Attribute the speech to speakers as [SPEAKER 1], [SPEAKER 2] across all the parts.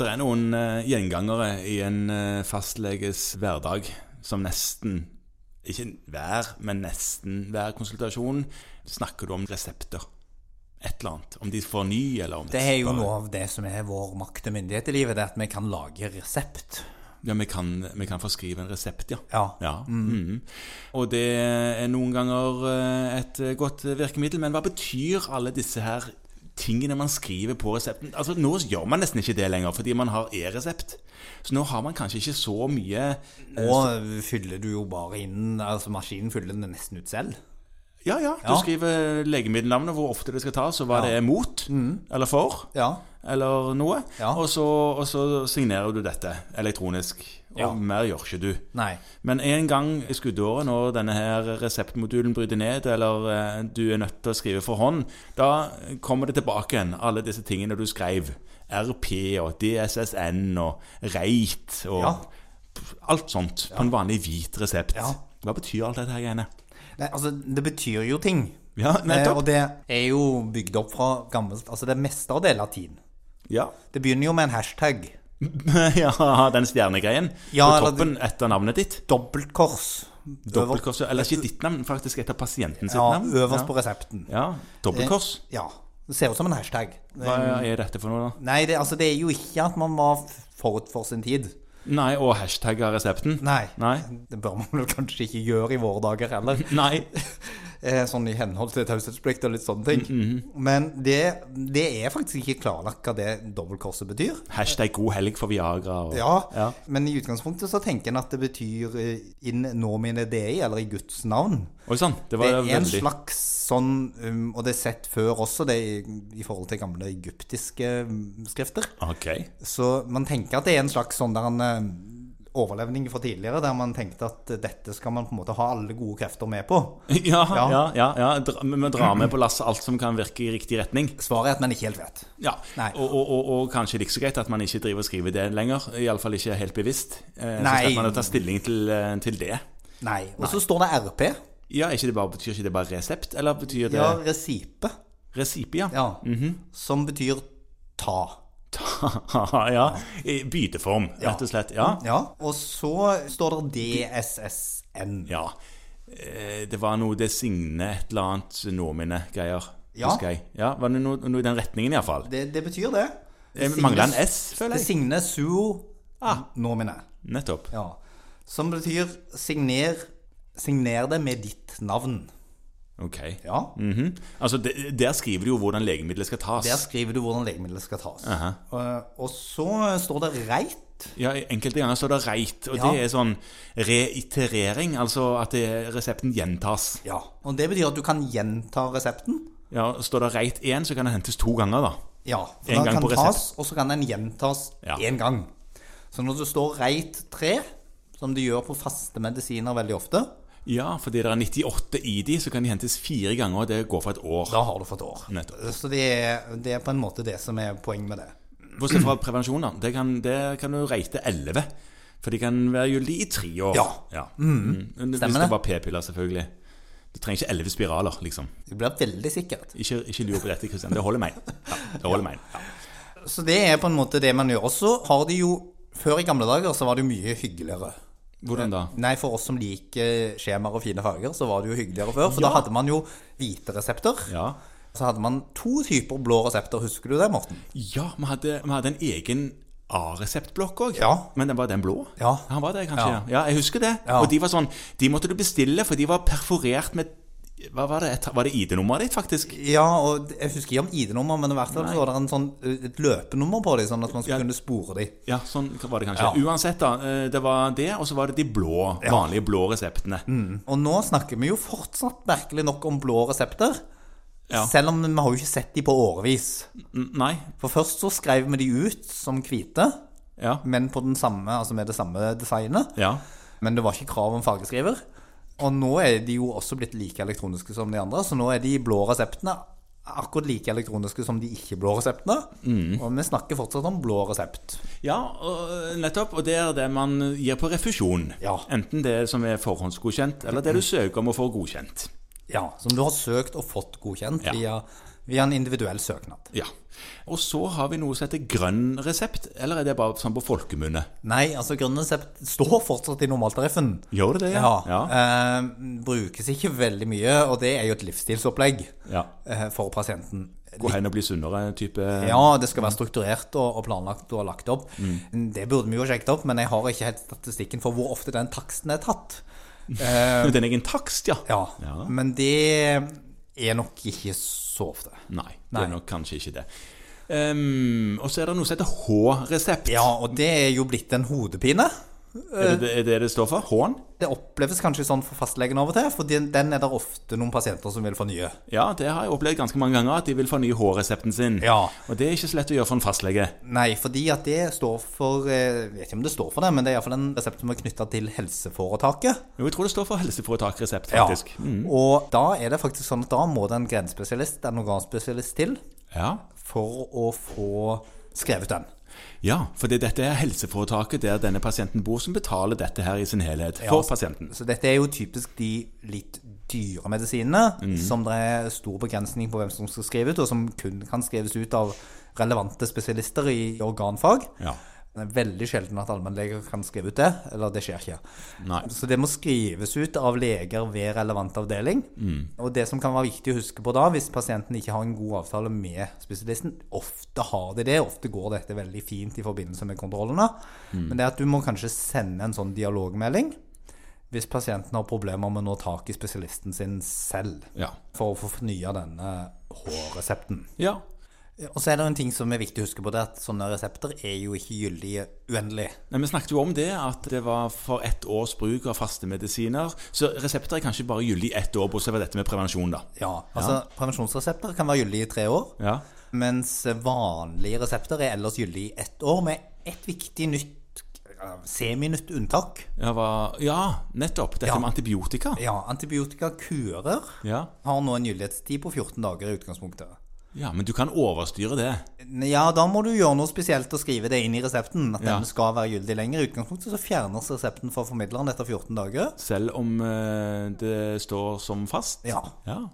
[SPEAKER 1] Det er noen eh, gjengangere i en eh, fastleges hverdag som nesten Ikke hver, men nesten hver konsultasjon snakker du om resepter. Et eller annet. Om de får ny, eller om
[SPEAKER 2] Det er jo
[SPEAKER 1] bare-
[SPEAKER 2] noe av det som er vår makt og myndighet i livet, det er at vi kan lage resept.
[SPEAKER 1] Ja, vi kan, vi kan forskrive en resept, ja.
[SPEAKER 2] Ja.
[SPEAKER 1] mhm. Og det er noen ganger eh, et godt virkemiddel, men hva betyr alle disse her tingene man skriver på resepten? Altså, Nå gjør man nesten ikke det lenger, fordi man har e-resept. Så nå har man kanskje ikke Eh, så mye
[SPEAKER 2] Og fyller du jo bare inn Altså, maskinen fyller den nesten ut selv.
[SPEAKER 1] Ja, ja, du
[SPEAKER 2] Ja.
[SPEAKER 1] skriver legemiddelnavnet, hvor ofte det skal tas, og hva det er mot, eller for,
[SPEAKER 2] Mm. Ja.
[SPEAKER 1] eller noe.
[SPEAKER 2] Ja.
[SPEAKER 1] Og, så, og så signerer du dette elektronisk. Og
[SPEAKER 2] Ja.
[SPEAKER 1] mer gjør ikke du.
[SPEAKER 2] Nei.
[SPEAKER 1] Men en gang i skuddåret, når denne her reseptmodulen bryter ned, eller eh, du er nødt til å skrive for hånd, da kommer det tilbake igjen, alle disse tingene du skrev. RP og DSSN og Reit og
[SPEAKER 2] Ja.
[SPEAKER 1] alt sånt på en vanlig hvit resept.
[SPEAKER 2] Ja.
[SPEAKER 1] Hva betyr alt dette her greiene?
[SPEAKER 2] Nei, altså, det betyr jo ting.
[SPEAKER 1] Ja,
[SPEAKER 2] Eh, og
[SPEAKER 1] nettopp.
[SPEAKER 2] det er jo bygd opp fra gammelt Altså, det meste av det er latin.
[SPEAKER 1] Ja.
[SPEAKER 2] Det begynner jo med en hashtag.
[SPEAKER 1] ja, den stjernegreien
[SPEAKER 2] Ja,
[SPEAKER 1] på
[SPEAKER 2] eller-
[SPEAKER 1] toppen etter navnet ditt.
[SPEAKER 2] Dobbeltkors. Øver-
[SPEAKER 1] Dobbeltkors, eller ikke ditt navn, faktisk etter pasienten sitt
[SPEAKER 2] Ja,
[SPEAKER 1] navn.
[SPEAKER 2] øverst på resepten.
[SPEAKER 1] Ja, dobbeltkors.
[SPEAKER 2] Ja. Det ser ut som en hashtag.
[SPEAKER 1] Hva er dette for noe da?
[SPEAKER 2] Nei, det, altså, det er jo ikke at man var forut for sin tid.
[SPEAKER 1] Nei, og hashtagge resepten?
[SPEAKER 2] Nei.
[SPEAKER 1] Nei.
[SPEAKER 2] Det bør man vel kanskje ikke gjøre i våre dager heller.
[SPEAKER 1] Nei.
[SPEAKER 2] Eh, Sånn i henhold til taushetsplikt og litt sånne ting.
[SPEAKER 1] Mm,
[SPEAKER 2] Men det, det er faktisk ikke klarlagt hva det dobbeltkorset betyr.
[SPEAKER 1] Hashtag god helg for Viagra. Og...
[SPEAKER 2] Ja,
[SPEAKER 1] Ja.
[SPEAKER 2] men i utgangspunktet så tenker en at det betyr eh, in nomine dei, eller i Guds navn.
[SPEAKER 1] Oi sann, det
[SPEAKER 2] Det
[SPEAKER 1] var
[SPEAKER 2] er en
[SPEAKER 1] veldig
[SPEAKER 2] slags sånn, um, og det er sett før også, det i, i forhold til gamle egyptiske um, skrifter.
[SPEAKER 1] Ok.
[SPEAKER 2] Så man tenker at det er en slags sånn der en eh, overlevning fra tidligere, der man tenkte at dette skal man på en måte ha alle gode krefter med på.
[SPEAKER 1] Ja, ja,
[SPEAKER 2] Ja.
[SPEAKER 1] ja. ja, Dra, men vi drar med på lasset alt som kan virke i riktig retning.
[SPEAKER 2] Svaret er at man ikke helt vet.
[SPEAKER 1] Ja,
[SPEAKER 2] Nei.
[SPEAKER 1] og, og, og, og kanskje like så greit at man ikke driver og skriver det lenger. Iallfall ikke helt bevisst. Eh, så
[SPEAKER 2] Nei.
[SPEAKER 1] slipper man å ta stilling til, eh, til det.
[SPEAKER 2] Nei. Og så står det RP.
[SPEAKER 1] Ja, er ikke det bare, Betyr ikke det bare resept, eller betyr det
[SPEAKER 2] Ja,
[SPEAKER 1] ja.
[SPEAKER 2] resipe. Mhm.
[SPEAKER 1] resipia?
[SPEAKER 2] Ja. Som betyr ta.
[SPEAKER 1] ja. I byteform, rett og slett. Ja.
[SPEAKER 2] Ja. Og så står det DSSN.
[SPEAKER 1] ja. Eh, Det var noe det signer et eller annet nomine-greier.
[SPEAKER 2] Ja.
[SPEAKER 1] husker jeg. ja. Var det noe, noe i den retningen, iallfall?
[SPEAKER 2] Det, det betyr det.
[SPEAKER 1] Jeg mangler en S, føler
[SPEAKER 2] Det
[SPEAKER 1] jeg.
[SPEAKER 2] signer suo Ah. nomine.
[SPEAKER 1] Nettopp.
[SPEAKER 2] Ja. Som betyr signer, signer det med ditt navn.
[SPEAKER 1] Ok.
[SPEAKER 2] Ja.
[SPEAKER 1] Mhm. Altså, de- Der skriver du jo hvordan legemiddelet skal tas.
[SPEAKER 2] Der skriver du hvordan legemiddelet skal tas. Eh, og så står det reit.
[SPEAKER 1] Ja, Enkelte ganger står det reit, og
[SPEAKER 2] Ja.
[SPEAKER 1] det er sånn reiterering. Altså at det, resepten gjentas.
[SPEAKER 2] Ja. Og det betyr at du kan gjenta resepten.
[SPEAKER 1] Ja, Står det reit én, så kan det hentes to ganger, da.
[SPEAKER 2] Ja. For
[SPEAKER 1] En
[SPEAKER 2] den
[SPEAKER 1] gang
[SPEAKER 2] kan
[SPEAKER 1] på resept.
[SPEAKER 2] tas, og så kan den gjentas
[SPEAKER 1] Ja.
[SPEAKER 2] én gang. Så når det står reit 3, som de gjør på faste medisiner veldig ofte,
[SPEAKER 1] Ja, fordi det er 98 i de, så kan de hentes fire ganger, og det går for et år.
[SPEAKER 2] da har du fått år.
[SPEAKER 1] Nettopp.
[SPEAKER 2] Så det er, det er på en måte det som er poenget med det.
[SPEAKER 1] Bortsett fra prevensjon, da. Det kan, det kan du reite 11. For de kan være gyldige i tre år.
[SPEAKER 2] Ja.
[SPEAKER 1] Mm. Hvis
[SPEAKER 2] Stemmer
[SPEAKER 1] det
[SPEAKER 2] det.
[SPEAKER 1] var p-piller, selvfølgelig. Du trenger ikke 11 spiraler, liksom.
[SPEAKER 2] Det blir veldig sikkert.
[SPEAKER 1] Ikke, ikke lur på dette, Kristian. Det holder meg. Ja, det holder meg. Ja.
[SPEAKER 2] Så det er på en måte det man gjør. Og så har de jo Før i gamle dager så var det jo mye hyggeligere.
[SPEAKER 1] Hvordan da?
[SPEAKER 2] Nei, for oss som liker skjemaer og fine farger, så var det jo hyggeligere før. For da hadde man jo hvite resepter.
[SPEAKER 1] Ja,
[SPEAKER 2] Så hadde man to typer blå resepter, husker du det, Morten?
[SPEAKER 1] ja vi, hadde, vi hadde en egen A-reseptblokk òg.
[SPEAKER 2] Ja.
[SPEAKER 1] Men den var den blå?
[SPEAKER 2] Ja.
[SPEAKER 1] Han var det, kanskje? Ja, ja jeg husker det.
[SPEAKER 2] Ja.
[SPEAKER 1] Og de var sånn De måtte du bestille, for de var perforert med Hva var det? Et- Var det ID-nummeret ditt, faktisk?
[SPEAKER 2] Ja, og jeg husker ikke om ID-nummer, men i hvert fall så var det en sånn, et løpenummer på dem, sånn at man skulle kunne spore dem.
[SPEAKER 1] Ja, sånn var det kanskje.
[SPEAKER 2] Ja.
[SPEAKER 1] Uansett, da. eh, Det var det, og så var det de blå, vanlige blå reseptene.
[SPEAKER 2] Og nå snakker vi jo fortsatt merkelig nok om blå resepter.
[SPEAKER 1] Ja.
[SPEAKER 2] Selv om vi har jo ikke sett de på årevis.
[SPEAKER 1] N- Nei.
[SPEAKER 2] For først så skrev vi de ut som hvite,
[SPEAKER 1] Ja.
[SPEAKER 2] men på den samme, altså med det samme designet.
[SPEAKER 1] ja.
[SPEAKER 2] Men det var ikke krav om fargeskriver. Og nå er de jo også blitt like elektroniske som de andre, så nå er de blå reseptene akkurat like elektroniske som de ikke-blå reseptene.
[SPEAKER 1] Mm.
[SPEAKER 2] Og vi snakker fortsatt om blå resept.
[SPEAKER 1] Ja, og eh, nettopp. Og det er det man gir på refusjon.
[SPEAKER 2] Ja. Mm.
[SPEAKER 1] Enten det som er forhåndsgodkjent, eller det du søker om å få godkjent.
[SPEAKER 2] Ja, Som du har søkt og fått godkjent
[SPEAKER 1] Ja.
[SPEAKER 2] via via en individuell søknad.
[SPEAKER 1] Ja. Og så har vi noe som heter grønn resept, eller er det bare sånn på folkemunne?
[SPEAKER 2] Nei, altså grønn resept står fortsatt i normaltariffen.
[SPEAKER 1] Gjør det det?
[SPEAKER 2] Ja.
[SPEAKER 1] Ja.
[SPEAKER 2] Eh, brukes ikke veldig mye, og det er jo et livsstilsopplegg
[SPEAKER 1] ja.
[SPEAKER 2] eh, for pasienten.
[SPEAKER 1] Gå hen og bli sunnere type
[SPEAKER 2] Ja, Mm. det skal være strukturert og, og planlagt og lagt opp. Det burde vi jo ha sjekket opp, men jeg har ikke helt statistikken for hvor ofte den taksten er tatt.
[SPEAKER 1] Den egen takst, ja.
[SPEAKER 2] Ja,
[SPEAKER 1] Ja.
[SPEAKER 2] Men det er nok ikke så ofte.
[SPEAKER 1] Nei, det
[SPEAKER 2] Nei.
[SPEAKER 1] er nok kanskje ikke det. Ehm, og så er det noe som heter H-resept.
[SPEAKER 2] Ja, og det er jo blitt en hodepine.
[SPEAKER 1] Er det er det det står for? H-en?
[SPEAKER 2] Det oppleves kanskje sånn for fastlegen av og til, for den den er det ofte noen pasienter som vil fornye.
[SPEAKER 1] Ja, det har jeg opplevd ganske mange ganger, at de vil fornye H-resepten sin.
[SPEAKER 2] Ja.
[SPEAKER 1] Og det er ikke så lett å gjøre for en fastlege.
[SPEAKER 2] Nei, fordi at det står for eh, Jeg vet ikke om det står for det, men det er iallfall en resept som er knytta til helseforetaket.
[SPEAKER 1] Jo, jeg tror det står for helseforetakresept, faktisk. Ja.
[SPEAKER 2] Og da er det faktisk sånn at da må det en grenespesialist, en organspesialist, til
[SPEAKER 1] ja.
[SPEAKER 2] for å få skrevet den.
[SPEAKER 1] Ja, for det, dette er helseforetaket der denne pasienten bor, som betaler dette her i sin helhet.
[SPEAKER 2] Ja, altså,
[SPEAKER 1] For pasienten.
[SPEAKER 2] Så dette er jo typisk de litt dyre medisinene,
[SPEAKER 1] Mhm.
[SPEAKER 2] som det er stor begrensning på hvem som skal skrive ut, og som kun kan skrives ut av relevante spesialister i organfag.
[SPEAKER 1] Ja.
[SPEAKER 2] Det er veldig sjelden at allmennleger kan skrive ut det, eller det skjer ikke.
[SPEAKER 1] Nei.
[SPEAKER 2] Så det må skrives ut av leger ved relevant avdeling. Og det som kan være viktig å huske på da, hvis pasienten ikke har en god avtale med spesialisten, ofte har de det, ofte går dette veldig fint i forbindelse med kontrollene, men det er at du må kanskje sende en sånn dialogmelding hvis pasienten har problemer med å nå tak i spesialisten sin selv
[SPEAKER 1] Ja.
[SPEAKER 2] for å få fornya denne H-resepten.
[SPEAKER 1] ja.
[SPEAKER 2] Og så er det en ting som er viktig å huske på, det er at sånne resepter er jo ikke gyldige uendelig.
[SPEAKER 1] Nei, Vi snakket jo om det, at det var for ett års bruk av faste medisiner. Så resepter er kanskje bare gyldig i ett år, bortsett fra dette med prevensjon, da.
[SPEAKER 2] Ja, altså Prevensjonsresepter kan være gyldige i tre år,
[SPEAKER 1] Ja.
[SPEAKER 2] mens vanlige resepter er ellers gyldige i ett år, med et viktig nytt, eh, seminytt unntak.
[SPEAKER 1] Ja, hva, ja nettopp. Dette
[SPEAKER 2] Ja.
[SPEAKER 1] med antibiotika.
[SPEAKER 2] Ja, antibiotikakurer
[SPEAKER 1] Ja.
[SPEAKER 2] har nå en gyldighetstid på 14 dager i utgangspunktet.
[SPEAKER 1] ja, men du kan overstyre det.
[SPEAKER 2] Ja, da må du gjøre noe spesielt og skrive det inn i resepten. At
[SPEAKER 1] Ja.
[SPEAKER 2] den skal være gyldig lenger. I utgangspunktet så fjernes resepten fra formidleren etter 14 dager.
[SPEAKER 1] Selv om eh, det står som fast.
[SPEAKER 2] Ja. Eh,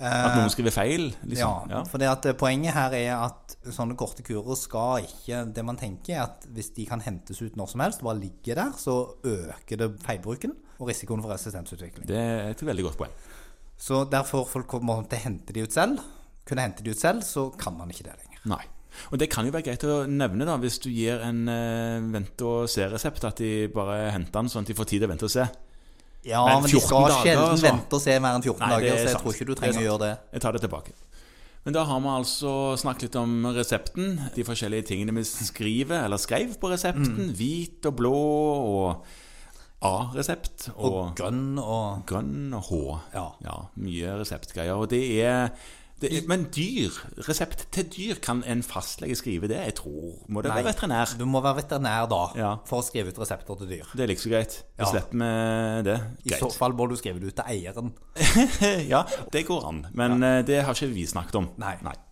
[SPEAKER 1] Ja. At noen skriver feil,
[SPEAKER 2] Ja,
[SPEAKER 1] liksom. Ja.
[SPEAKER 2] for det at eh, poenget her er at sånne korte kurer skal ikke Det man tenker er at hvis de kan hentes ut når som helst, bare ligger der, så øker det feilbruken og risikoen for resistensutvikling.
[SPEAKER 1] Det er et veldig godt poeng.
[SPEAKER 2] Så derfor folk kommer til å hente de ut selv. Kunne hente de ut selv, så kan man ikke det lenger.
[SPEAKER 1] Nei. Og det kan jo være greit å nevne, da, hvis du gir en eh, vent-og-se-resept, at de bare henter den sånn at de får tid til å vente og se.
[SPEAKER 2] Ja,
[SPEAKER 1] Men
[SPEAKER 2] men,
[SPEAKER 1] 14
[SPEAKER 2] de skal
[SPEAKER 1] dager,
[SPEAKER 2] sjelden
[SPEAKER 1] altså.
[SPEAKER 2] vente og se mer enn 14
[SPEAKER 1] Nei, det er
[SPEAKER 2] dager, så jeg
[SPEAKER 1] sant.
[SPEAKER 2] tror ikke du
[SPEAKER 1] Det er
[SPEAKER 2] trenger å
[SPEAKER 1] sant.
[SPEAKER 2] gjøre det.
[SPEAKER 1] Jeg tar det tilbake. Men da har vi altså snakket litt om resepten. De forskjellige tingene vi skriver, eller skrev på
[SPEAKER 2] Mm.
[SPEAKER 1] resepten. Hvit og blå og A-resept og,
[SPEAKER 2] Og grønn og
[SPEAKER 1] grønn og H.
[SPEAKER 2] Ja.
[SPEAKER 1] mye reseptgreier. Og det er, det er Men dyr, resept til dyr, kan en fastlege skrive det? Jeg tror Må det være
[SPEAKER 2] Nei.
[SPEAKER 1] veterinær?
[SPEAKER 2] Du må være veterinær da
[SPEAKER 1] Ja.
[SPEAKER 2] for å skrive ut resepter til dyr.
[SPEAKER 1] Det er like så greit. Vi
[SPEAKER 2] Ja.
[SPEAKER 1] slipper med det.
[SPEAKER 2] I så fall må du skrive det ut til eieren.
[SPEAKER 1] ja, det går an. Men eh, det har ikke vi snakket om.
[SPEAKER 2] Nei.
[SPEAKER 1] Nei.